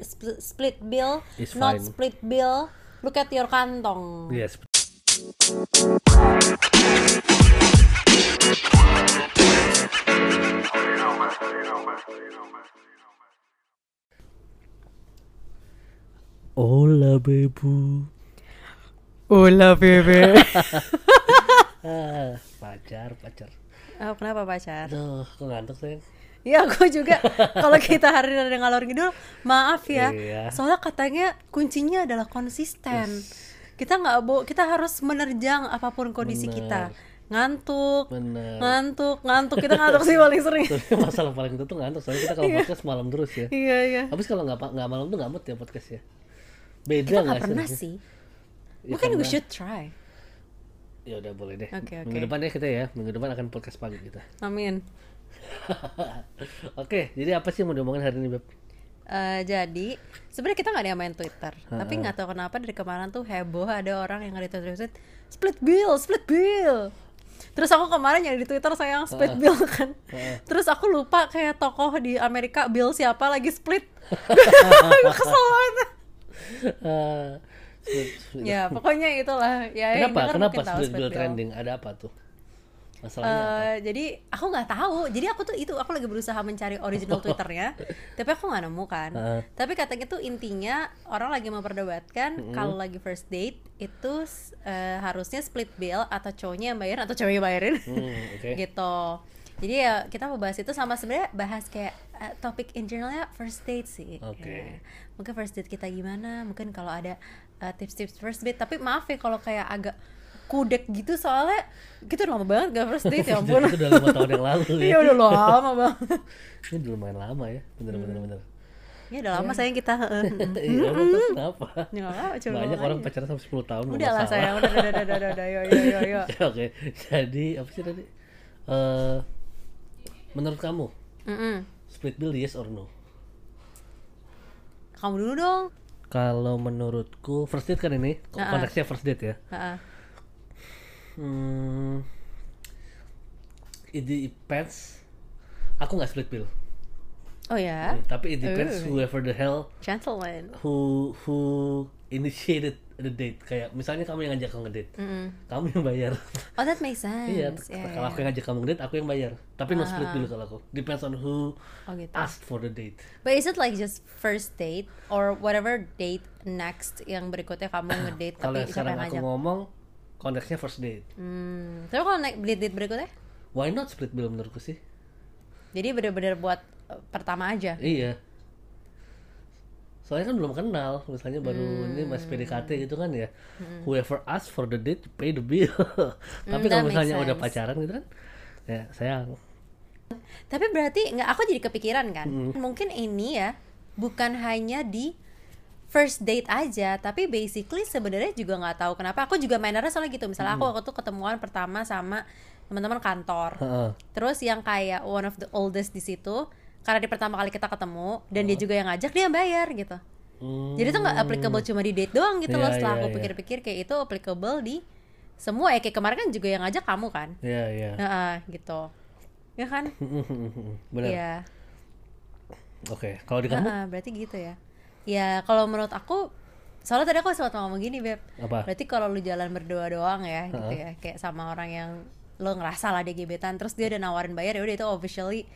split, split bill, It's not fine. split bill. Look at your kantong. Yes. Hola, bebu. Hola bebe. Ah, pacar, pacar. oh, kenapa pacar? Aduh, kok ngantuk sih? Ya aku juga. Kalau kita hari ini ada ngalor ngidul, maaf ya. Iya. Soalnya katanya kuncinya adalah konsisten. Kita nggak bo, kita harus menerjang apapun kondisi kita. Ngantuk, Bener. ngantuk, ngantuk. Kita ngantuk sih paling sering. Tapi masalah paling itu tuh ngantuk. Soalnya kita kalau podcast malam terus ya. iya iya. Habis kalau nggak pa- nggak malam tuh nggak mood ya podcast ya. Beda Kita nggak nggak sih? pernah sih. Ya, Mungkin we karena- should try. Ya udah boleh deh. Oke, oke. Minggu depan ya kita ya. Minggu depan akan podcast pagi kita. Amin. Oke, jadi apa sih yang mau diomongin hari ini, Beb? Eh, jadi sebenarnya kita nggak ada yang main Twitter, tapi nggak tahu kenapa dari kemarin tuh heboh ada orang yang nge tweet split bill, split bill. Terus aku kemarin nyari di Twitter sayang split bill kan. Terus aku lupa kayak tokoh di Amerika bill siapa lagi split. Gue kesel banget. Eh, split- split- Ya pokoknya itulah. Ya, yang Eh, kenapa? denger Kenapa mungkin tahu split bill trending? Ada apa tuh? Masalahnya apa? Eh, jadi aku nggak tahu. Jadi aku tuh itu aku lagi berusaha mencari original Oh. twitternya, tapi aku nggak nemu kan. Heeh. Tapi katanya tuh intinya orang lagi memperdebatkan kalau lagi first date itu eh, harusnya split bill atau cowoknya yang bayarin atau cowoknya yang bayarin Hmm, oke. gitu. Jadi ya kita mau bahas itu sama sebenarnya bahas kayak eh, topik in generalnya first date sih. Ya. Oke. Mungkin first date kita gimana? Mungkin kalau ada eh, tips-tips first date. Tapi maaf ya kalau kayak agak kudek gitu soalnya kita udah lama banget gak first date ya ampun. itu udah lima tahun yang lalu ya. Iya udah lama banget. Ini udah lumayan lama ya. Bener bener bener. Ya udah lama sayang kita. eh, eh, eh. Iya, emang tuh kenapa? Ya nggak apa-apa, coba Banyak ngomong orang aja. pacaran sampai 10 tahun. nggak Udah lah masalah. sayang, udah udah udah udah udah, udah yo yo yo yo. Ya, Oke, jadi apa sih tadi? Eh, menurut kamu Mm-mm. split bill yes or no? Kamu dulu dong. Kalau menurutku first date kan ini konteksnya first date ya. Heeh. Hmm, it depends. Aku nggak split bill, Oh ya, tapi it depends whoever the hell gentleman. who who initiated the date. Kayak misalnya kamu yang ngajak aku ngedate, Mm-mm. kamu yang bayar. Oh that makes sense. Iya, Ah. Ya, kalau aku yang ngajak kamu ngedate, aku yang bayar. Tapi no split bill kalau aku. Depends on who Oh gitu. asked for the date. But is it like just first date or whatever date next yang berikutnya kamu ngedate Kalau tapi yang siapa sekarang yang aku ngajak? ngomong konteksnya first date. Hmm. Tapi kalau naik date date berikutnya, Why not split bill menurutku sih? jadi bener-bener buat eh, pertama aja. Iya. Soalnya kan belum kenal, misalnya baru Hmm. ini masih PDKT gitu kan ya. Whoever asks for the date pay the bill. Hmm, Tapi that kalau makes misalnya udah sense. pacaran gitu kan, ya sayang. Tapi berarti nggak aku jadi kepikiran kan? Mungkin ini ya bukan hanya di first date aja, tapi basically sebenarnya juga nggak tahu kenapa. Aku juga mainnya soalnya gitu. Misalnya aku waktu itu ketemuan pertama sama teman-teman kantor. Heeh. Terus yang kayak one of the oldest di situ karena di pertama kali kita ketemu dan dia juga yang ngajak dia yang bayar gitu. Oh. Hmm, Jadi itu nggak applicable cuma di date doang gitu Iya, loh. Setelah iya, aku iya. pikir-pikir kayak itu applicable di semua ya kayak kemarin kan juga yang ngajak kamu kan. Iya, iya. Heeh, gitu. Ya kan? Hmm, Benar. Iya. Oke, kalau di kamu Heeh, berarti gitu ya. Ya kalau menurut aku soalnya tadi aku sempat ngomong gini, Beb. apa? Berarti kalau lu jalan berdua doang ya gitu ya, kayak sama orang yang lo ngerasa lah dia gebetan terus dia udah nawarin bayar ya udah itu officially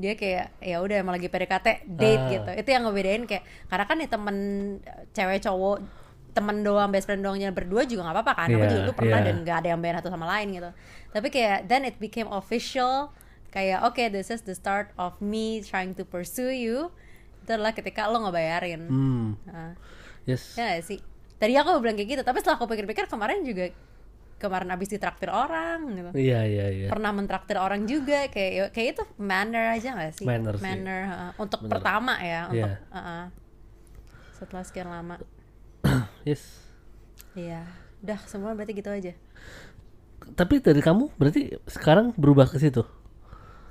dia kayak ya udah emang lagi PDKT date Ah. gitu. Itu yang ngebedain kayak karena kan nih temen eh, cewek cowok temen doang best friend doang jalan berdua juga nggak apa-apa kan aku Iya, juga dulu pernah iya. dan nggak ada yang bayar satu sama lain gitu tapi kayak then it became official kayak oke this is the start of me trying to pursue you itu adalah ketika lo ngebayarin Hmm, Nah. yes. Ya gak sih? Tadi aku bilang kayak gitu, tapi setelah aku pikir-pikir kemarin juga kemarin abis ditraktir orang gitu. Iya, iya, iya. Pernah mentraktir orang juga kayak ya- kayak itu manner aja gak sih? Manner sih. heeh. untuk pertama ya, untuk Iya. heeh. setelah sekian lama. Yes. Iya. Udah, semua berarti gitu aja. Tapi dari kamu berarti sekarang berubah ke situ.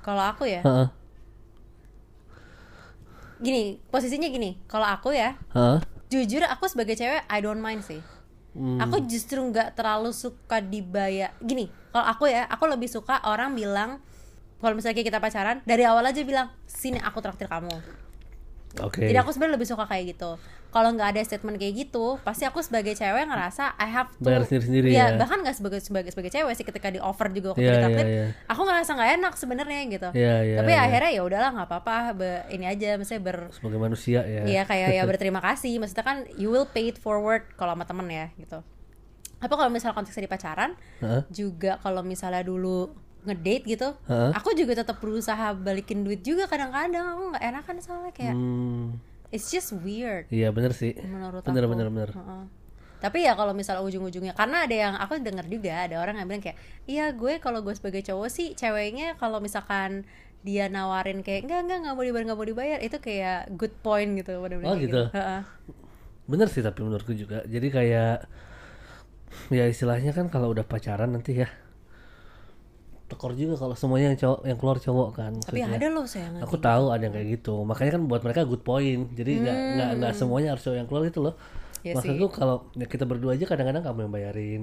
Kalau aku ya, Heeh. gini, posisinya gini. Kalau aku ya, Heeh. jujur aku sebagai cewek I don't mind sih. Hmm, Aku justru nggak terlalu suka dibayar. Gini, kalau aku ya, aku lebih suka orang bilang kalau misalnya kayak kita pacaran dari awal aja bilang sini aku traktir kamu. Oke. Jadi aku sebenarnya lebih suka kayak gitu. Kalau nggak ada statement kayak gitu, pasti aku sebagai cewek ngerasa I have to Bayar sendiri-sendiri Iya, ya. bahkan nggak sebagai sebagai sebagai cewek sih ketika di offer juga waktu Iya, di iya, Katlin, iya. aku ngerasa nggak enak sebenarnya gitu. Iya, iya, Tapi iya. akhirnya ya udahlah nggak apa-apa, be- ini aja misalnya ber sebagai manusia ya. Iya kayak ya berterima kasih. Maksudnya kan you will pay it forward kalau sama temen ya gitu. Tapi kalau misalnya konteksnya di pacaran, Heeh. juga kalau misalnya dulu ngedate gitu, Heeh. aku juga tetap berusaha balikin duit juga kadang-kadang aku nggak enakan soalnya kayak Hmm, it's just weird iya bener sih. menurut aku. bener, Hmm. bener bener Heeh. Tapi ya kalau misalnya ujung-ujungnya karena ada yang aku denger juga ada orang yang bilang kayak, "Iya, gue kalau gue sebagai cowok sih ceweknya kalau misalkan dia nawarin kayak enggak enggak enggak mau dibayar enggak mau dibayar itu kayak good point gitu bener-bener Oh, kayak gitu. Heeh. Bener sih tapi menurutku juga. Jadi kayak ya istilahnya kan kalau udah pacaran nanti ya tekor juga kalau semuanya yang cowok yang keluar cowok kan. Tapi maksudnya. ada loh sayang. Aku tahu ada yang kayak gitu. Makanya kan buat mereka good point. Jadi nggak nggak nggak semuanya harus cowok yang keluar gitu loh. Hmm. Iya Maksudku kalau ya kita berdua aja kadang-kadang kamu yang bayarin,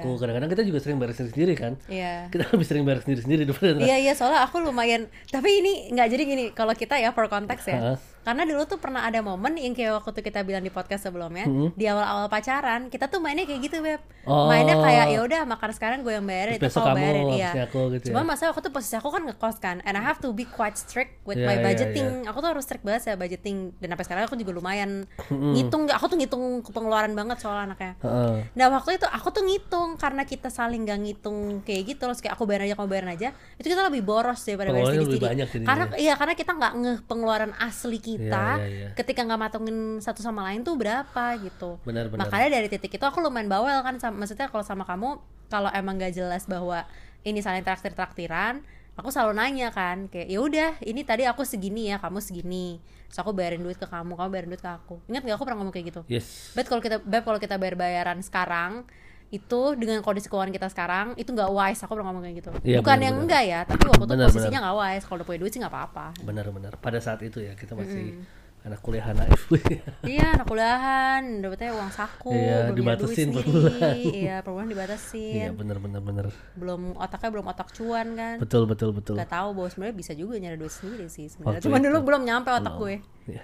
Iya, aku, kadang-kadang kita juga sering bayar sendiri kan. Iya. Kita lebih sering bayar sendiri-sendiri daripada Iya iya soalnya aku lumayan tapi ini nggak jadi gini kalau kita ya per konteks ya Heeh. karena dulu tuh pernah ada momen yang kayak waktu kita bilang di podcast sebelumnya di awal-awal pacaran kita tuh mainnya kayak gitu beb Mm-hmm. Oh. mainnya kayak ya udah makan sekarang gue yang bayarin itu Terus besok kau kamu, bayarin iya habisnya aku gitu cuma ya. masalah waktu itu posisi aku kan ngekos kan and I have to be quite strict with Iya, my iya, budgeting aku tuh harus strict banget ya budgeting dan sampai sekarang aku juga lumayan ngitung aku tuh ngitung pengeluaran banget soal anaknya Heeh. Nah waktu itu aku tuh ngitung karena kita saling gak ngitung kayak gitu loh kayak aku bayar aja kamu bayar aja itu kita lebih boros daripada bayar Pengeluarannya sedikit lebih banyak jadinya. ya? karena iya karena kita nggak ngeh pengeluaran asli kita Iya, iya, iya. ketika nggak matengin satu sama lain tuh berapa gitu Benar, benar. makanya dari titik itu aku lumayan bawel kan sama, maksudnya kalau sama kamu kalau emang gak jelas bahwa ini saling traktir traktiran aku selalu nanya kan kayak ya udah ini tadi aku segini ya kamu segini terus aku bayarin duit ke kamu kamu bayarin duit ke aku ingat gak aku pernah ngomong kayak gitu Yes. Bet kalau kita beb kalau kita bayar bayaran sekarang itu dengan kondisi keuangan kita sekarang itu nggak wise aku pernah ngomong kayak gitu Iya, bukan benar, yang benar. enggak ya tapi waktu itu Benar, posisinya nggak wise kalau udah punya duit sih nggak apa-apa Benar-benar. Pada saat itu ya kita masih anak kuliah naif. iya anak kuliahan dapetnya uang saku Iya, belum punya duit dibatasin per sendiri. bulan. iya per bulan dibatasin Iya benar-benar benar. belum otaknya belum otak cuan kan Betul betul betul. nggak tahu bahwa sebenarnya bisa juga nyari duit sendiri sih sebenarnya Waktu cuman itu. dulu belum nyampe otak gue Hmm. Iya.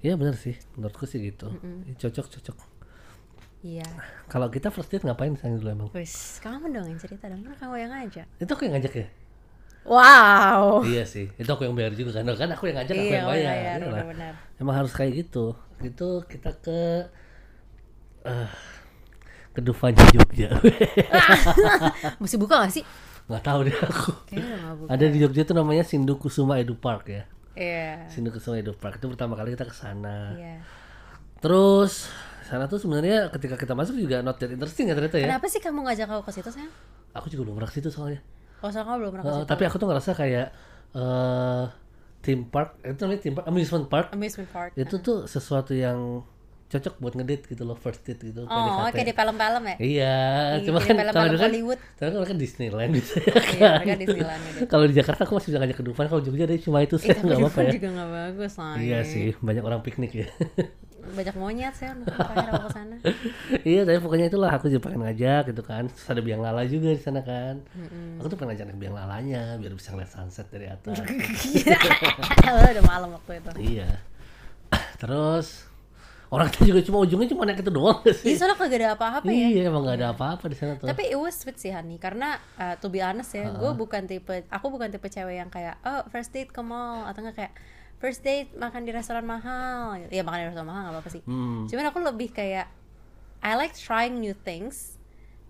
Iya benar sih. Menurutku sih gitu. Cocok cocok. iya Kalau kita first date ngapain sayang dulu emang? wis kamu dong yang cerita dong kan kamu yang ngajak Itu aku yang ngajak ya? wow iya sih. Itu aku yang bayar juga kan. Kan aku yang ngajak, aku Oh. iya yang kamu bayar. bayar Iyalah. benar-benar Emang harus kayak gitu. Itu kita ke eh ke Dufanya Jogja. mesti buka gak sih Nggak tahu deh aku. kayaknya udah nggak buka Ada di Jogja tuh namanya Sindu Kusuma Edu Park ya. Iya. Sindu Kusuma Edu Park itu pertama kali kita ke sana. Iya. Terus sana tuh sebenarnya ketika kita masuk juga not that interesting ya ternyata ya. Kenapa sih kamu ngajak aku ke situ, sayang? Aku juga belum pernah ke situ soalnya. Kalau soalnya kamu belum pernah ke Eh, situ. tapi aku tuh ngerasa kayak eh theme park, itu namanya theme park, amusement park. Amusement park. Itu tuh sesuatu yang cocok buat ngedit gitu loh, first date gitu. Oh, PDKT. kayak di film-film ya? Iya, Iya, cuma jadi kan film-film kalau dulu kan, Hollywood. tapi kan mereka Disneyland gitu Iya, ya kan. mereka Disneyland gitu. Kalau di Jakarta aku masih bisa ngajak ke Dufan, kalau Jogja deh cuma itu saya Tapi di nggak apa-apa depan ya. juga nggak bagus lah. Iya sih, banyak orang piknik ya. Banyak monyet sih, terakhir aku ke sana. iya, tapi pokoknya itulah aku juga pengen ngajak gitu kan. Terus ada biang lala juga di sana kan. Aku tuh pengen ngajak naik biang lalanya biar bisa ngeliat sunset dari atas. Padahal udah malam waktu itu. iya. Terus orang tuh juga cuma ujungnya cuma naik itu doang nggak Iya, sih. soalnya kagak ada apa-apa ya. Iya, emang nggak ada apa-apa di sana tuh. Tapi it was sweet sih Hani karena uh, to be honest ya, gue bukan tipe aku bukan tipe cewek yang kayak oh first date ke mall atau enggak kayak first date makan di restoran mahal. gitu. Ya makan di restoran mahal nggak apa-apa sih. Hmm. Cuman aku lebih kayak I like trying new things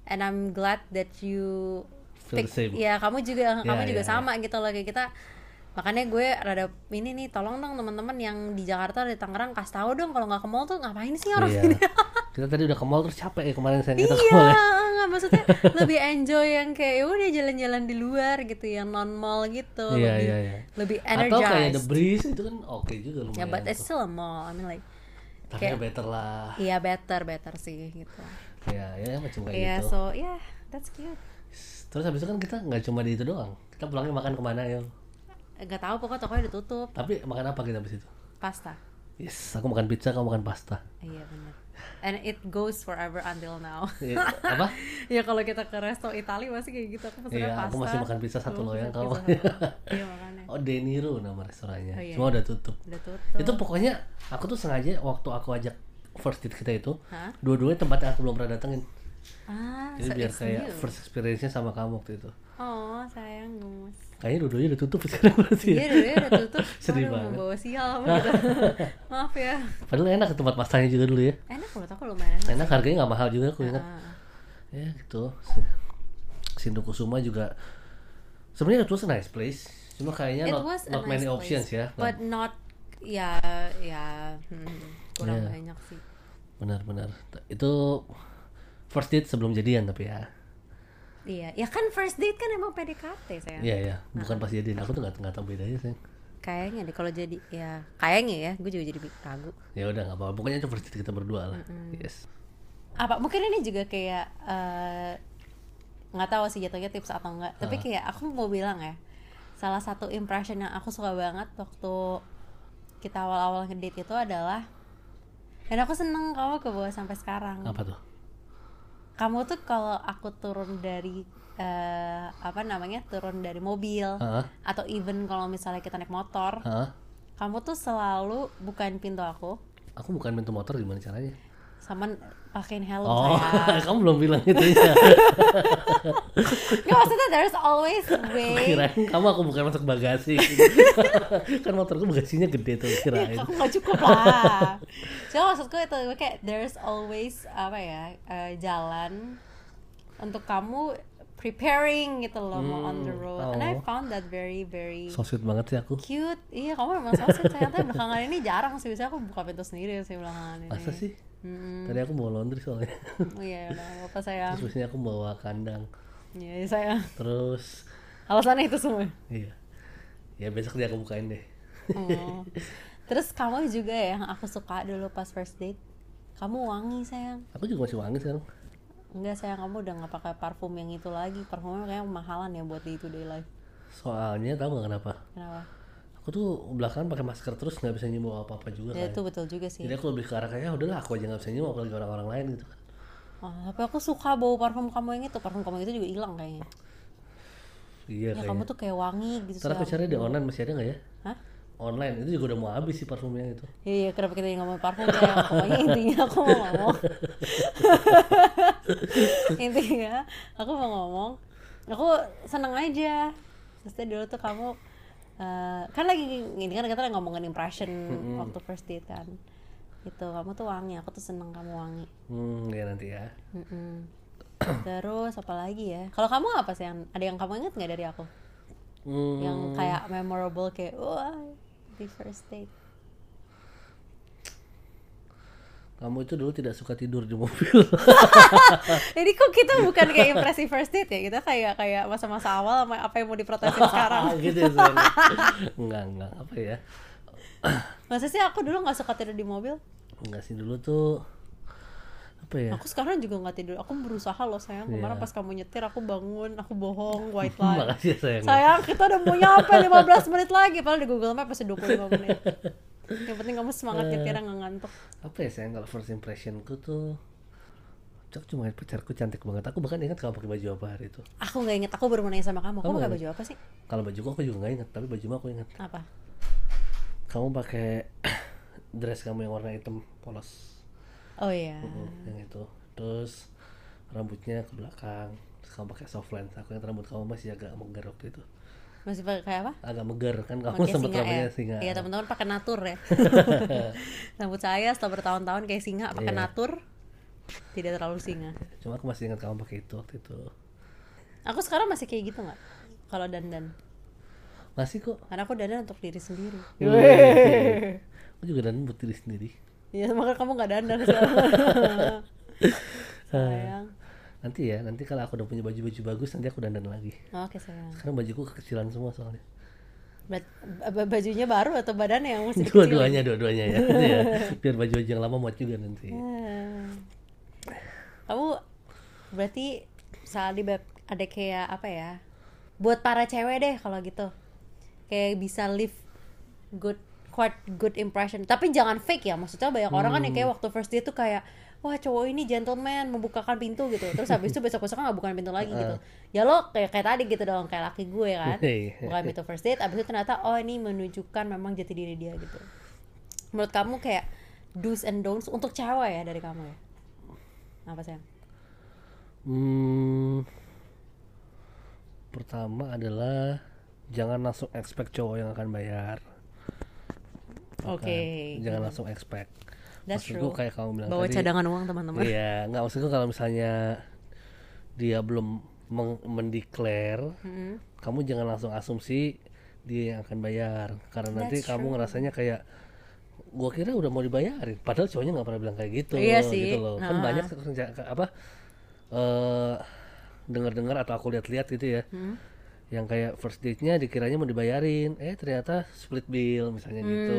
and I'm glad that you Feel the same. ya kamu juga kamu Ya, juga ya, sama gitu loh kayak kita makanya gue rada ini nih tolong dong teman-teman yang di Jakarta di Tangerang kasih tahu dong kalau nggak ke mall tuh ngapain sih orang Iya. ini Kita tadi udah ke mall terus capek ya kemarin saya kita ke mall iya ya. nggak maksudnya lebih enjoy yang kayak "Ya udah jalan-jalan di luar gitu yang non mall gitu Iya, lebih iya, iya. lebih Atau kayak The energized Breeze itu kan oke juga ya lumayan. but it's still a mall I mean like Tapi kayak- ya better lah. iya better better sih gitu Ya, ya macam kayak iya gitu. so yeah that's cute Terus habis itu kan kita nggak cuma di itu doang. Kita pulangnya makan kemana ya? nggak tahu pokoknya tokonya udah tutup Tapi makan apa kita habis itu? pasta Yes, aku makan pizza, kamu makan pasta. Iya benar. And it goes forever until now. Iya, apa? ya kalau kita ke resto Itali masih kayak gitu. Aku pesennya Iya, pasta. aku masih makan pizza satu Kamu loyang, pesen kamu- pizza satu loyang. Iya makanya. Oh, De Niro nama restorannya. Oh, iya. Cuma udah tutup. Udah tutup. Itu pokoknya aku tuh sengaja waktu aku ajak first date kita itu, Hah? dua-duanya tempat yang aku belum pernah datengin. Ah, Jadi so biar it's kayak new. first experience-nya sama kamu waktu itu. Oh, sayang gemes. Kayaknya dua-duanya udah tutup sekarang berarti ya. Iya, dulunya udah tutup. Sedih Waduh, banget. Bawa sial apa gitu. Maaf ya. Padahal enak ke tempat pastanya juga dulu ya. Enak menurut aku lumayan enak. Enak harganya nggak mahal juga aku ingat. Ah. Ya gitu. Sindu Kusuma juga sebenarnya itu nice place. Cuma kayaknya Ya, not, not many nice options place, ya. But not ya ya hmm, kurang Yeah. banyak sih. Benar-benar. Itu first date sebelum jadian tapi ya. Iya, ya kan first date kan emang PDKT sayang. Iya ya, bukan pas jadian. Aku tuh nggak nggak tahu bedanya sih. Kayaknya deh kalau jadi ya kayaknya ya, gue juga jadi ragu. Ya udah nggak apa-apa. Pokoknya itu first date kita berdua lah. Yes. Apa mungkin ini juga kayak eh, nggak tahu sih jatuhnya tips atau enggak, tapi kayak aku mau bilang ya, salah satu impression yang aku suka banget waktu kita awal-awal ngedate itu adalah dan aku seneng kamu ke bawah sampai sekarang. Apa tuh? kamu tuh kalau aku turun dari eh, apa namanya turun dari mobil Heeh. atau even kalau misalnya kita naik motor Heeh. kamu tuh selalu bukain pintu aku Aku bukan pintu motor gimana caranya? sama pakein helm Oh, saya kamu belum bilang itu ya. nggak maksudnya there's always way kirain kamu aku bukan masuk bagasi kan motorku bagasinya gede tuh kirain Iya, aku nggak cukup lah cuma maksudku itu kayak there's always apa ya eh, jalan untuk kamu preparing gitu loh mau on the road and I oh. found that very very so sweet banget sih aku cute iya kamu emang saset sayang tapi belakangan ini jarang sih biasanya aku buka pintu sendiri sih belakangan ini masa sih Mm-mm. tadi aku bawa laundry soalnya Oh iya udah nggak apa sayang terus biasanya aku bawa kandang iya sayang terus alasannya itu semua iya ya besok dia aku bukain deh Oh. terus kamu juga ya yang aku suka dulu pas first date kamu wangi sayang aku juga masih wangi sekarang enggak sayang kamu udah nggak pakai parfum yang itu lagi parfumnya kayak mahalan ya buat day to day life soalnya tahu nggak kenapa kenapa aku tuh belakangan pakai masker terus nggak bisa nyium apa apa juga ya kan itu betul juga sih jadi aku lebih ke arah kayak "Ah, udahlah aku aja nggak bisa nyium apalagi orang-orang lain gitu kan oh, tapi aku suka bau parfum kamu yang itu parfum kamu yang itu juga hilang kayaknya iya ya kayaknya kamu tuh kayak wangi gitu ntar aku sayang cari di online masih ada nggak ya Hah? online itu juga udah mau habis sih parfumnya itu Iya, iya, kenapa kita yang ngomong parfum sayang? Pokoknya intinya aku mau ngomong Intinya aku mau ngomong Aku seneng aja Maksudnya dulu tuh kamu eh, Kan lagi ini kan kita lagi ngomongin impression waktu first date kan Itu kamu tuh wangi, aku tuh seneng kamu wangi hmm ya nanti ya Mm-mm. Terus apa lagi ya? Kalau kamu apa sih yang ada yang kamu inget nggak dari aku? Hmm, Yang kayak memorable kayak wah di first date. kamu itu dulu tidak suka tidur di mobil. Jadi kok kita bukan kayak impresi first date ya? Kita kayak kayak masa-masa awal sama apa yang mau diprotesin sekarang. gitu ya sebenarnya. enggak, enggak. Apa ya? Masa sih aku dulu nggak suka tidur di mobil? Enggak sih dulu tuh apa ya? Aku sekarang juga nggak tidur. Aku berusaha loh sayang. Kemarin Iya. pas kamu nyetir aku bangun, aku bohong, white Terima lie. kasih ya sayang. Sayang, kita udah mau nyampe 15 menit lagi. Padahal di Google Maps masih 25 menit. Yang penting kamu semangat nyetir nggak ngantuk. Apa ya sayang kalau first impressionku tuh Cok cuma ngeliat pacarku cantik banget. Aku bahkan ingat kamu pakai baju apa hari itu. Aku nggak inget. Aku baru mau nanya sama kamu. Kamu Kamu pakai nggak baju apa sih? Kalau bajuku aku juga nggak ingat, tapi bajumu aku ingat. Apa? Kamu pakai dress kamu yang warna hitam polos. Oh iya. Hmm, yang itu terus rambutnya ke belakang terus kamu pakai soft lens aku yang rambut kamu masih agak megar waktu itu Masih pakai kayak apa? agak megar kan kamu Pakai sempet singa ya. rambutnya singa Iya teman-teman pakai natur ya. Rambut saya setelah bertahun-tahun kayak singa pakai Iya. natur. Tidak terlalu singa. cuma aku masih ingat kamu pakai itu waktu itu Aku sekarang masih kayak gitu nggak? Kalau dandan. masih kok Karena aku dandan untuk diri sendiri. aku juga dan buat diri sendiri Iya, makanya kamu nggak dandan sekarang. sayang. nanti ya nanti kalau aku udah punya baju-baju bagus nanti aku dandan lagi Oke sayang. sekarang bajuku kekecilan semua soalnya Bet- ba- bajunya baru atau badannya yang mesti dikecilin? dua-duanya dua-duanya ya. Gitu ya biar baju-baju yang lama muat juga nanti Ah. Kamu berarti saat di bab- ada kayak apa ya? Buat para cewek deh kalau gitu. Kayak bisa live good quite good impression tapi jangan fake ya maksudnya banyak orang kan yang kayak waktu first date tuh kayak wah cowok ini gentleman membukakan pintu gitu terus habis itu besok besok nggak bukan pintu lagi gitu ya lo kayak kayak tadi gitu dong kayak laki gue kan Iya. bukan pintu first date abis itu ternyata oh ini menunjukkan memang jati diri dia gitu menurut kamu kayak do's and don'ts untuk cewek ya dari kamu ya apa sayang Hmm, pertama adalah jangan langsung expect cowok yang akan bayar. kan? oke Jangan langsung expect. That's Maksud gua true. kayak kamu bilang bawa tadi. cadangan uang teman-teman Iya, nggak maksud gua kalau misalnya dia belum meng- mendeklar, Mm-mm. kamu jangan langsung asumsi dia yang akan bayar karena nanti That's kamu true. ngerasanya kayak gua kira udah mau dibayarin padahal cowoknya nggak pernah bilang kayak gitu Iya sih. gitu loh kan Nah. banyak kerja- ke- apa eh dengar-dengar atau aku lihat-lihat gitu ya Mm-hmm. yang kayak first date-nya dikiranya mau dibayarin eh ternyata split bill misalnya gitu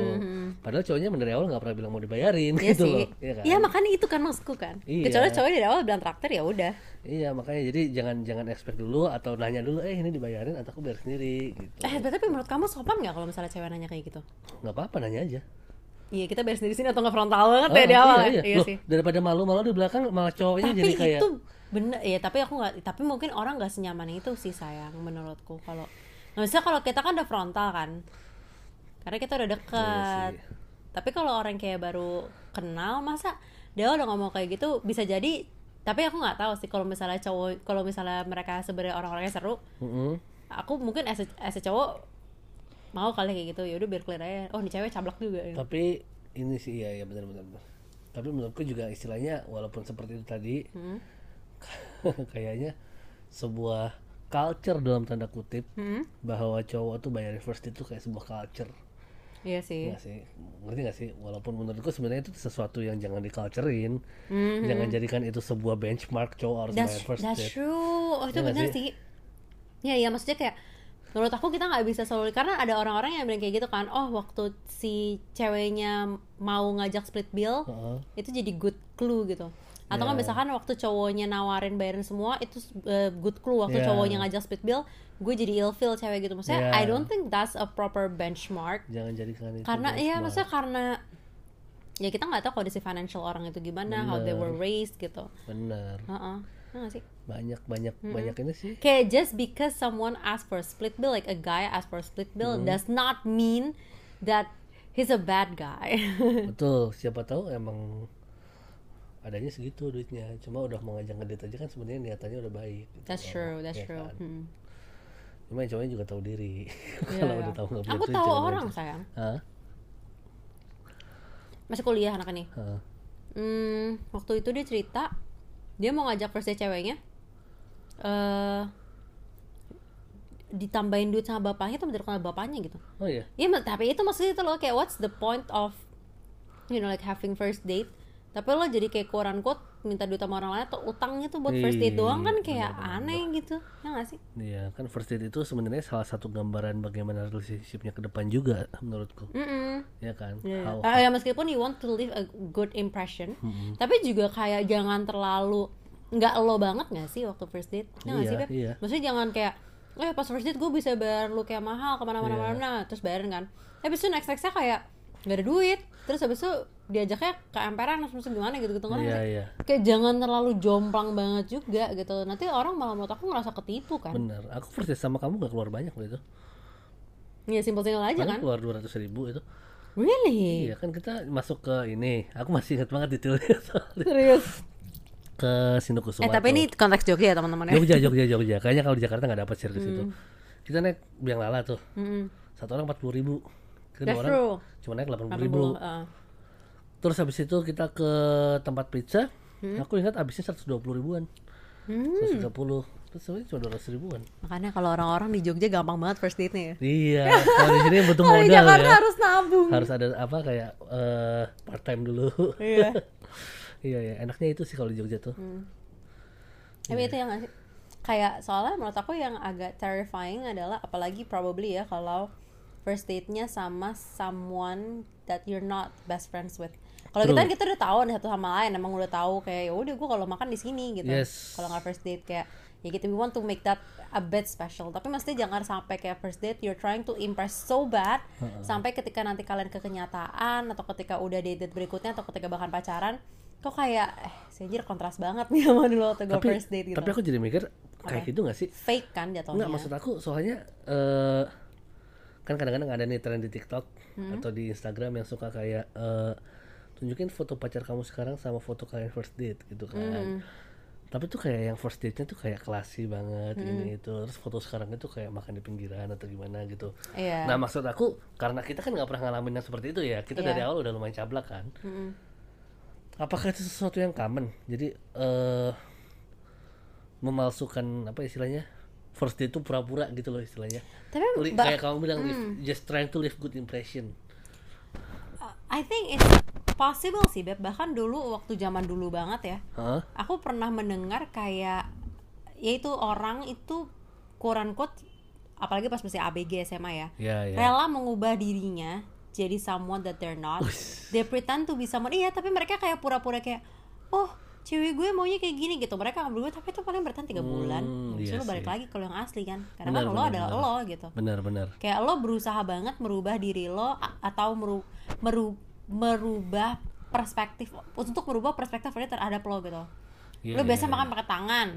padahal cowoknya dari awal nggak pernah bilang mau dibayarin Mm-hmm. Iya gitu sih. loh Iya Iya kan? makanya itu kan maksudku kan. Iya. Kecuali cowoknya dari awal bilang traktir ya udah. iya makanya jadi jangan jangan expect dulu atau nanya dulu eh ini dibayarin atau aku bayar sendiri gitu Eh tapi menurut kamu sopan nggak kalau misalnya cewek nanya kayak gitu? nggak apa-apa nanya aja Iya kita beres dari sini atau nggak frontal banget Oh, ya di awal iya, ya? iya. Loh, sih. Daripada malu-malu di belakang malah cowoknya Tapi jadi kayak itu bener ya tapi aku nggak tapi mungkin orang nggak senyaman itu sih sayang menurutku kalau nah, misalnya kalau kita kan udah frontal kan karena kita udah dekat Iya tapi kalau orang kayak baru kenal masa dia udah ngomong kayak gitu bisa jadi tapi aku nggak tahu sih kalau misalnya cowok kalau misalnya mereka sebenarnya orang-orangnya seru Mm-mm. aku mungkin as a, as a cowok mau kali kayak gitu ya udah biar clear aja oh nih cewek cablak juga ya. Tapi ini sih iya ya benar-benar. benar. Tapi menurutku juga istilahnya walaupun seperti itu tadi Hmm. kayaknya sebuah culture dalam tanda kutip Hmm. bahwa cowok tuh bayar first itu kayak sebuah culture. iya sih Iya sih, ngerti gak sih? Walaupun menurutku sebenarnya itu sesuatu yang jangan diculturein, Mhm. jangan jadikan itu sebuah benchmark cowok harus that's, bayar first that's date. true oh itu Iya nggak benar sih? sih ya ya maksudnya kayak menurut aku kita nggak bisa selalu karena ada orang-orang yang bilang kayak gitu kan oh waktu si ceweknya mau ngajak split bill Heeh. Iya. itu jadi good clue gitu atau nggak Yeah. misalkan waktu cowoknya nawarin bayarin semua itu uh, good clue waktu Yeah. cowoknya ngajak split bill gue jadi ill feel cewek gitu maksudnya Yeah. I don't think that's a proper benchmark Jangan jadikan itu. karena ya benchmark. maksudnya karena ya kita nggak tahu kondisi financial orang itu gimana how they were raised gitu Bener. Heeh. Ya nggak sih banyak banyak banyak ini sih kayak just because someone asked for a split bill like a guy asked for a split bill Mm-hmm. does not mean that he's a bad guy betul siapa tahu emang adanya segitu duitnya cuma udah mau ngajak ngedit aja kan sebenarnya niatannya udah baik gitu that's loh, true that's ya true kan? Hmm. cuma yang cowoknya juga tahu diri Iya, kalau iya. udah tahu nggak punya aku duit, tahu jangan orang ngajak. sayang Hah? masih kuliah anak ini Hah? Hmm, waktu itu dia cerita dia mau ngajak first date ceweknya eh ditambahin duit sama bapaknya tuh menurut bapaknya gitu oh iya Iya, mak- tapi itu maksudnya itu loh kayak what's the point of you know like having first date? Tapi lo jadi kayak koran quote minta duit sama orang lain atau utangnya tuh buat first date doang kan Iya, kayak benar-benar. aneh gitu. Ya gak sih? iya kan first date itu sebenarnya salah satu gambaran bagaimana relationshipnya ke depan juga menurutku Mm-mm. ya kan Iya. How- Mm-hmm. Ah, ya meskipun you want to leave a good impression, tapi juga kayak jangan terlalu nggak lo banget nggak sih waktu first date? Ya nggak Iya, sih, Beb? iya. Maksudnya jangan kayak eh pas first date gue bisa bayar lu kayak mahal kemana-mana Iya. mana terus bayarin kan. Tapi itu next nextnya kayak nggak ada duit, terus habis itu diajaknya ke emperan terus gimana gitu-gitu ngerti iya nggak sih? iya Kayak jangan terlalu jomplang banget juga gitu. Nanti orang malah menurut aku ngerasa ketipu kan. benar aku first date sama kamu nggak keluar banyak loh itu Ya simpel-simpel aja Paling kan. keluar dua ratus ribu itu Really? iya kan kita masuk ke ini aku masih ingat banget detailnya soalnya. Serius. ke Eh Sinokusuma tapi tuh. ini konteks Jogja ya teman-teman ya. Jogja, Jogja, Jogja. Kayaknya kalau di Jakarta nggak dapat sirkus itu. Hmm. Kita naik biang lala tuh. Mm-mm. Satu orang empat puluh ribu. Kedua That's orang true. cuma naik delapan puluh Apa ribu. belum? Ah. Terus habis itu kita ke tempat pizza. Hmm? Aku ingat habisnya seratus dua puluh ribuan. Seratus tiga puluh. Terus sebenarnya cuma dua ratus ribuan. Makanya kalau orang-orang di Jogja gampang banget first date-nya ya. Iya. Kalau di sini butuh Kalau di modal Jakarta ya. harus nabung. Harus ada apa kayak eh part time dulu. Iya. Hmm, iya ya. Enaknya itu sih kalau di Jogja tuh. Iya. Tapi itu yang nggak sih? kayak soalnya menurut aku yang agak terrifying adalah apalagi probably ya kalau first date-nya sama someone that you're not best friends with. Kalau kita True. kan kita udah tahu nih satu sama lain, emang udah tahu kayak ya udah gue kalau makan di sini gitu. Yes. Kalau nggak first date kayak ya gitu we want to make that a bit special. Tapi maksudnya jangan sampai kayak first date you're trying to impress so bad sampai ketika nanti kalian ke kenyataan atau ketika udah date date berikutnya atau ketika bahkan pacaran kok kayak eh si anjir kontras banget nih sama dulu waktu gue tapi first date gitu. tapi aku jadi mikir kayak gitu nggak sih fake kan jatuhnya. Enggak, maksud aku soalnya eh kan kadang-kadang ada nih tren di TikTok Hmm. atau di Instagram yang suka kayak eh, tunjukin foto pacar kamu sekarang sama foto kalian first date gitu kan. Hmm. Tapi tuh kayak yang first date-nya tuh kayak klasi banget Hmm. ini itu. Terus foto sekarangnya tuh kayak makan di pinggiran atau gimana gitu. Iya. Nah, maksud aku karena kita kan nggak pernah ngalamin yang seperti itu ya. Kita Iya. dari awal udah lumayan cablak kan. Apakah itu sesuatu yang common? Jadi eh memalsukan apa istilahnya first date itu pura-pura gitu loh istilahnya Tapi Li- ba- Hmm. kayak kamu bilang leave- just trying to leave good impression Uh, I think it's possible sih Beb. Bahkan dulu waktu zaman dulu banget ya. Hah? Aku pernah mendengar kayak yaitu orang itu quote quote apalagi pas masih ABG SMA ya. ya ya Rela mengubah dirinya jadi someone that they're not. They pretend to be someone. Iya, tapi mereka kayak pura-pura kayak oh, cewek gue maunya kayak gini gitu. Mereka ngambil gue tapi itu paling bertahan 3 bulan. Hmm, Habis itu iya lo balik sih. lagi kalau yang asli kan. Karena Benar, kan lo benar, adalah benar. lo gitu benar benar kayak lo berusaha banget merubah diri lo a- atau meru, meru- merubah perspektif untuk merubah perspektif lo terhadap lo gitu Iya, lo biasa iya, makan pakai tangan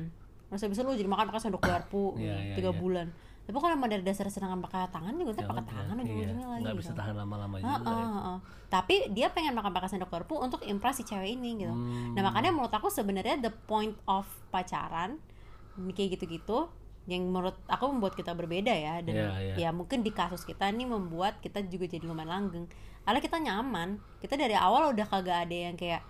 terus habis itu lo jadi makan pakai sendok garpu Iya, iya, tiga iya. bulan tapi kalau emang dari dasar senang pakai tangan juga ntar pakai Jangan, tangan ya. ujung-ujungnya Iya. lagi nggak gitu. bisa tahan lama-lama Ah, juga ah, ya. ah. Tapi dia pengen makan pakai sendok garpu untuk impress si cewek ini gitu. Hmm. Nah makanya menurut aku sebenarnya the point of pacaran hmm, kayak gitu-gitu yang menurut aku membuat kita berbeda ya dan Iya, iya. ya mungkin di kasus kita ini membuat kita juga jadi lumayan langgeng. Karena kita nyaman, kita dari awal udah kagak ada yang kayak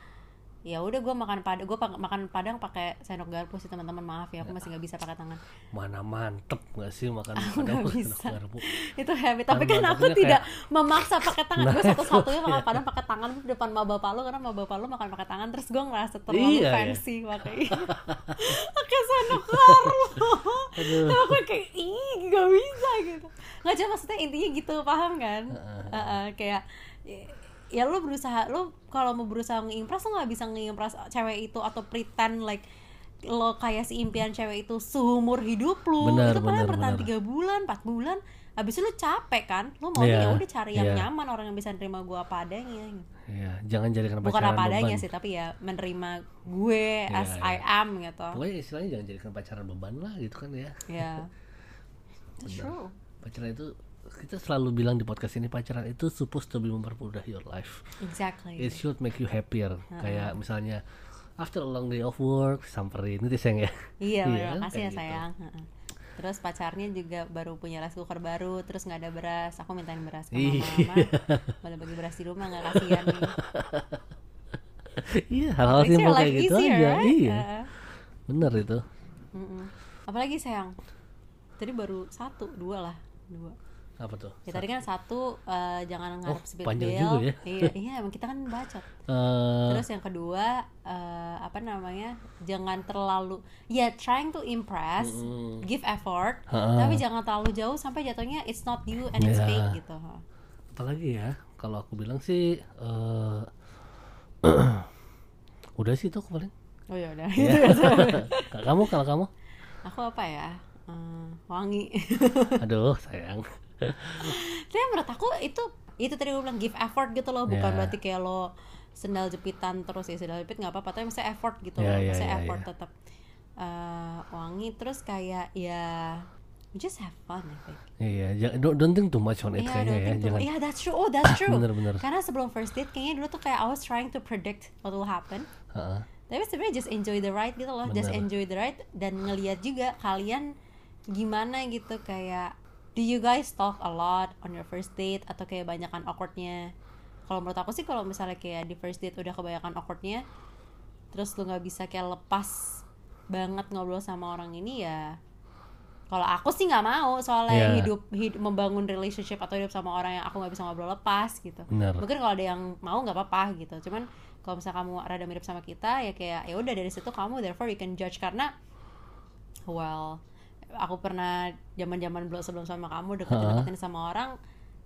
ya udah gue makan padang gue makan padang pakai sendok garpu sih teman-teman maaf ya aku masih nggak bisa pakai tangan mana mantep nggak sih makan nggak padang bisa. makan garpu itu habit tapi Tangan kan aku maksudnya tidak memaksa pakai tangan gue Nah, satu-satunya makan padang pakai tangan di depan ma bapak lo karena ma bapak lo makan pakai tangan terus gue ngerasa terlalu Iya, ya. fancy pakai pakai sendok garpu Aduh. terus gue kayak ih gak bisa gitu nggak cuma maksudnya intinya gitu paham kan Heeh, kayak ya- ya lo berusaha lo kalau mau berusaha ngeimpress lo nggak bisa ngeimpress cewek itu atau pretend like lo kayak si impian cewek itu seumur hidup lo Benar, itu paling benar, bertahan benar. tiga bulan, 4 bulan, abis itu lu capek kan? Lu maunya ya Iya, udah cari yang iya. nyaman, orang yang bisa nerima gue apa adanya. ya jangan jadikan Bukan pacaran apa adanya beban sih, tapi ya menerima gue Iya, as iya. I am gitu. pokoknya istilahnya jangan jadikan pacaran beban lah gitu kan ya Ya. It's true. pacaran itu kita selalu bilang di podcast ini pacaran itu supposed to be mempermudah your life Exactly. it should make you happier kayak misalnya after a long day of work samperin itu sayang ya Iya, Iya, bener. makasih ya kayak gitu. sayang. Heeh. Terus pacarnya juga baru punya rice cooker baru, terus nggak ada beras. Aku mintain beras ke Iya. mama-mama. Malah bagi beras di rumah nggak kasihan nih. iya hal-hal Makes simpel your kayak life gitu easier, aja right? Ya. iya Heeh. bener itu Mm-mm. Apalagi sayang. Tadi baru satu, dua lah, dua. apa tuh Ya tadi kan satu eh, jangan ngarep Oh, spill panjang bill. juga ya. Iya, iya emang kita kan bacot. Eh, Terus yang kedua eh, apa namanya? Jangan terlalu ya trying to impress, give effort, Ha-ha. tapi jangan terlalu jauh sampai jatuhnya it's not you and it's Ya. fake gitu. ha. apalagi ya kalau aku bilang sih eh udah sih itu aku paling Oh ya udah. Iya. Kalau kamu kalau kamu Aku apa ya? Eh, wangi. aduh sayang Tapi menurut aku itu itu tadi gue bilang give effort gitu loh, bukan Ya. berarti kayak lo sendal jepitan terus ya sendal jepit nggak apa-apa, tapi maksudnya effort gitu Ya, loh, ya, maksudnya ya, effort ya. tetap eh, wangi terus kayak ya just have fun I think. iya jangan- don't, don't think too much on it Iya, kayaknya don't ya think too jangan much. Iya, that's true. Oh, that's true. Bener, bener. Karena sebelum first date kayaknya dulu tuh kayak I was trying to predict what will happen. Heeh. Tapi sebenarnya just enjoy the ride gitu loh, just Bener. enjoy the ride dan ngeliat juga kalian gimana gitu kayak do you guys talk a lot on your first date atau kayak banyakan awkwardnya? Kalau menurut aku sih kalau misalnya kayak di first date udah kebanyakan awkwardnya, terus lu nggak bisa kayak lepas banget ngobrol sama orang ini ya. Kalau aku sih nggak mau soalnya Iya. hidup hidup membangun relationship atau hidup sama orang yang aku nggak bisa ngobrol lepas gitu Benar. mungkin kalau ada yang mau nggak apa-apa gitu cuman kalau misalnya kamu rada mirip sama kita ya kayak ya udah dari situ kamu therefore you can judge karena well aku pernah zaman-zaman belum sebelum sama kamu deketin-deketin sama orang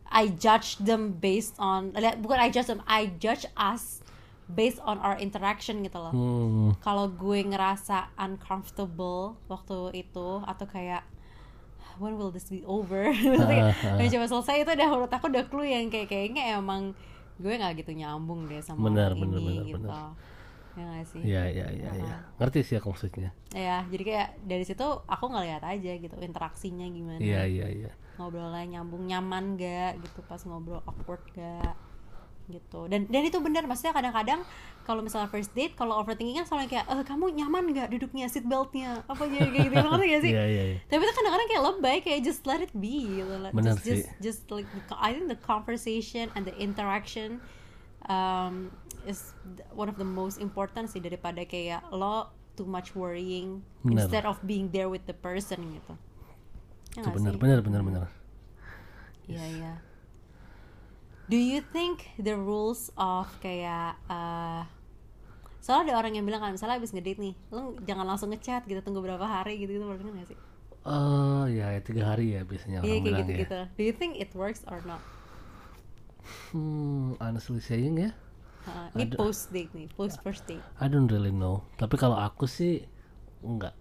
I judge them based on lihat bukan I judge them I judge us based on our interaction gitu loh Hmm. kalau gue ngerasa uncomfortable waktu itu atau kayak when will this be over maksudnya Ah, ah. udah coba selesai itu udah menurut aku udah clue yang kayak kayaknya emang gue nggak gitu nyambung deh sama Benar, orang benar, ini benar, gitu benar. ya nggak sih Iya, iya, iya, iya. Ngerti sih aku maksudnya. ya jadi kayak dari situ aku ngeliat aja gitu interaksinya gimana Iya, iya, iya. ngobrolnya nyambung nyaman gak gitu pas ngobrol awkward gak gitu dan dan itu benar maksudnya kadang-kadang kalau misalnya first date kalau overthinkingnya soalnya kayak eh kamu nyaman gak duduknya seat beltnya apa gitu gitu ngerti gak sih Iya, iya, iya. tapi itu kadang-kadang kayak lebay kayak just let it be gitu. Let- Benar just, just sih. just like the, I think the conversation and the interaction um, is th- one of the most important sih daripada kayak lo too much worrying Benar. instead of being there with the person gitu Ya Itu nggak benar, sih? benar, benar, benar. Iya iya. Do you think the rules of kayak eh soalnya ada orang yang bilang kan misalnya abis ngedate nih, lo jangan langsung ngechat gitu tunggu berapa hari gitu gitu pernah denger nggak sih? Oh, ya, ya, tiga hari ya Iya biasanya orang kayak bilang gitu ya. gitu. Do you think it works or not? Hmm, honestly saying ya, Heeh. ini post date nih, post first date. I don't really know. Tapi kalau aku sih enggak.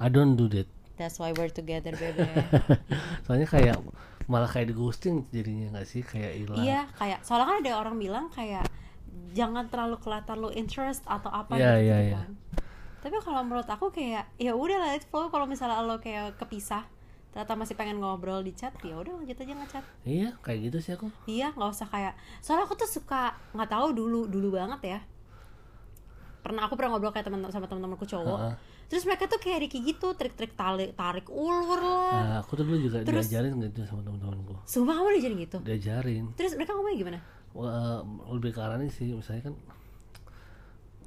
I don't do that. That's why we're together, baby. Soalnya kayak malah kayak di ghosting jadinya nggak sih kayak hilang. iya, kayak soalnya kan ada orang bilang kayak jangan terlalu kelihatan lo interest atau apa gitu, Iya, iya, gitu iya. kan. Tapi kalau menurut aku kayak ya udah lah, flow kalau misalnya lo kayak kepisah, ternyata masih pengen ngobrol di chat, ya udah lanjut aja ngechat. Iya, kayak gitu sih aku. Iya, nggak usah kayak. Soalnya aku tuh suka nggak tahu dulu dulu banget ya. Pernah aku pernah ngobrol kayak teman sama teman-temanku cowok. Heeh. Terus mereka tuh kayak Ricky gitu, trik-trik tarik tarik ulur lah. Nah, aku tuh dulu juga Terus- diajarin gitu sama teman-temanku. Sumpah kamu udah jadi gitu. Diajarin. Terus mereka ngomongnya gimana? Wah, lebih ke arahnya sih misalnya kan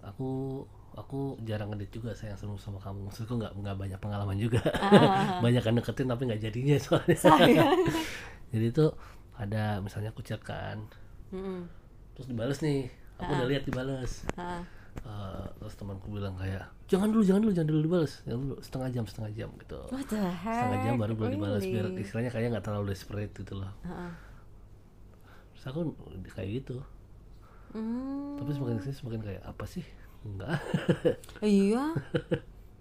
aku aku jarang ngedit juga sayang sama sama kamu maksudku nggak nggak banyak pengalaman juga banyak yang deketin tapi nggak jadinya soalnya jadi itu ada misalnya aku chat kan Mm-mm. terus dibales nih aku udah lihat dibales Ah, Eh, terus temanku bilang kayak jangan dulu jangan dulu jangan dulu dibales jangan dulu setengah jam setengah jam gitu What the heck? setengah jam baru baru dibalas biar Really? istilahnya kayak nggak terlalu desperate gitu loh Ah, ah. terus aku kayak gitu Hmm, tapi semakin kesini semakin kayak apa sih enggak iya.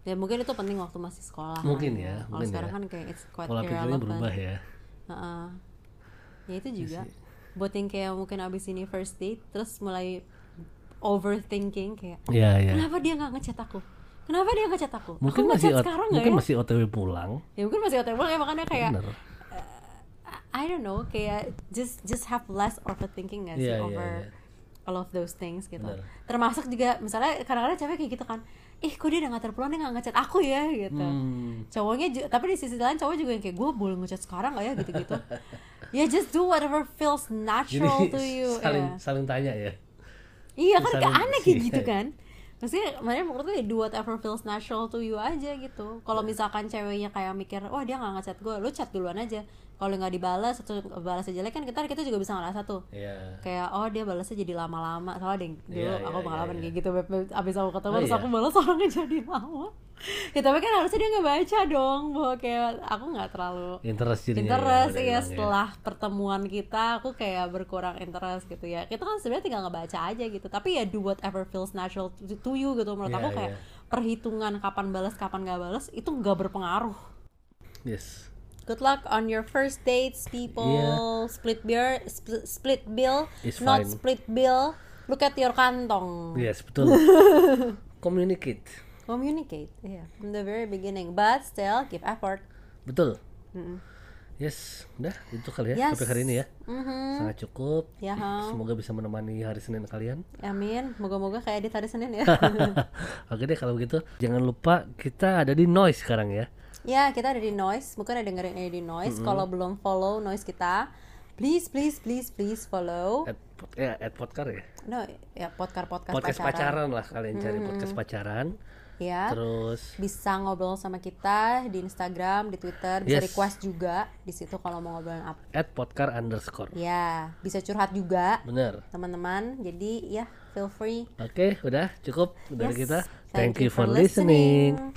Ya mungkin itu penting waktu masih sekolah. Mungkin kan ya, Kalau mungkin sekarang ya. kan kayak it's quite pola pikirnya irrelevant. berubah ya Iya Heeh. Ya itu juga. Buat yang kayak mungkin abis ini first date, terus mulai overthinking kayak, Iya iya kenapa dia nggak ngechat aku? Kenapa dia nggak chat aku? mungkin aku masih ngechat ot- sekarang nggak mungkin ya? masih otw pulang Ya mungkin masih otak banget ya makanya kayak bener I don't know kayak just just have less overthinking gak sih Iya, iya, over iya. all of those things gitu. Benar. Termasuk juga misalnya kadang-kadang cewek kayak gitu kan, ih kok dia udah nggak terpulang dia nggak ngechat aku ya gitu. Hmm, Cowoknya ju- tapi di sisi lain cowok juga yang kayak gue boleh ngechat sekarang gak ya gitu-gitu. ya just do whatever feels jadi natural to you. saling ya. saling tanya ya Iya kan saling gak aneh kayak sih. gitu kan. Maksudnya makanya menurut gue do whatever feels natural to you aja gitu. Iya. Kalau misalkan ceweknya kayak mikir, wah dia nggak ngechat gue, lu chat duluan aja. Kalau nggak dibalas atau balasnya jelek kan kita kita juga bisa ngerasa tuh. Iya Kayak oh dia balasnya jadi lama-lama. Soalnya ada yang dulu Iya, aku iya, pengalaman iya, kayak gitu. Beb. Abis aku ketemu Oh, terus iya? aku balas orangnya jadi lama. ya tapi kan harusnya dia nggak baca dong bahwa kayak aku nggak terlalu interest jadinya interest udah ya, hilang setelah pertemuan kita aku kayak berkurang interest gitu ya kita kan sebenarnya tinggal ngebaca aja gitu tapi ya do whatever feels natural to, to you gitu menurut Iya, aku kayak iya. perhitungan kapan balas kapan gak balas itu nggak berpengaruh yes good luck on your first dates people Iya. split bill split, split bill It's not fine. split bill look at your kantong yes betul communicate communicate yeah from the very beginning but still give effort betul yes udah itu kali ya Yes. topik hari ini ya Mhm. sangat cukup Ya, ha. semoga bisa menemani hari Senin kalian amin moga-moga kayak edit hari Senin ya Oke deh kalau begitu jangan lupa kita ada di noise sekarang ya. Ya, kita ada di Noise. Mungkin ada dengerin ada di Noise. Kalau belum follow Noise kita, please please please please follow. At, pod- eh, at podcast ya. No, ya podcast podcast, Podcast pacaran. pacaran. lah kalian cari podcast pacaran. Ya. Terus Bisa ngobrol sama kita di Instagram, di Twitter, bisa Yes. request juga di situ kalau mau ngobrolin apa. at podcast underscore. Ya, bisa curhat juga Bener. teman-teman. Jadi ya, feel free. Oke udah cukup dari Yes. kita. Thank, you for listening.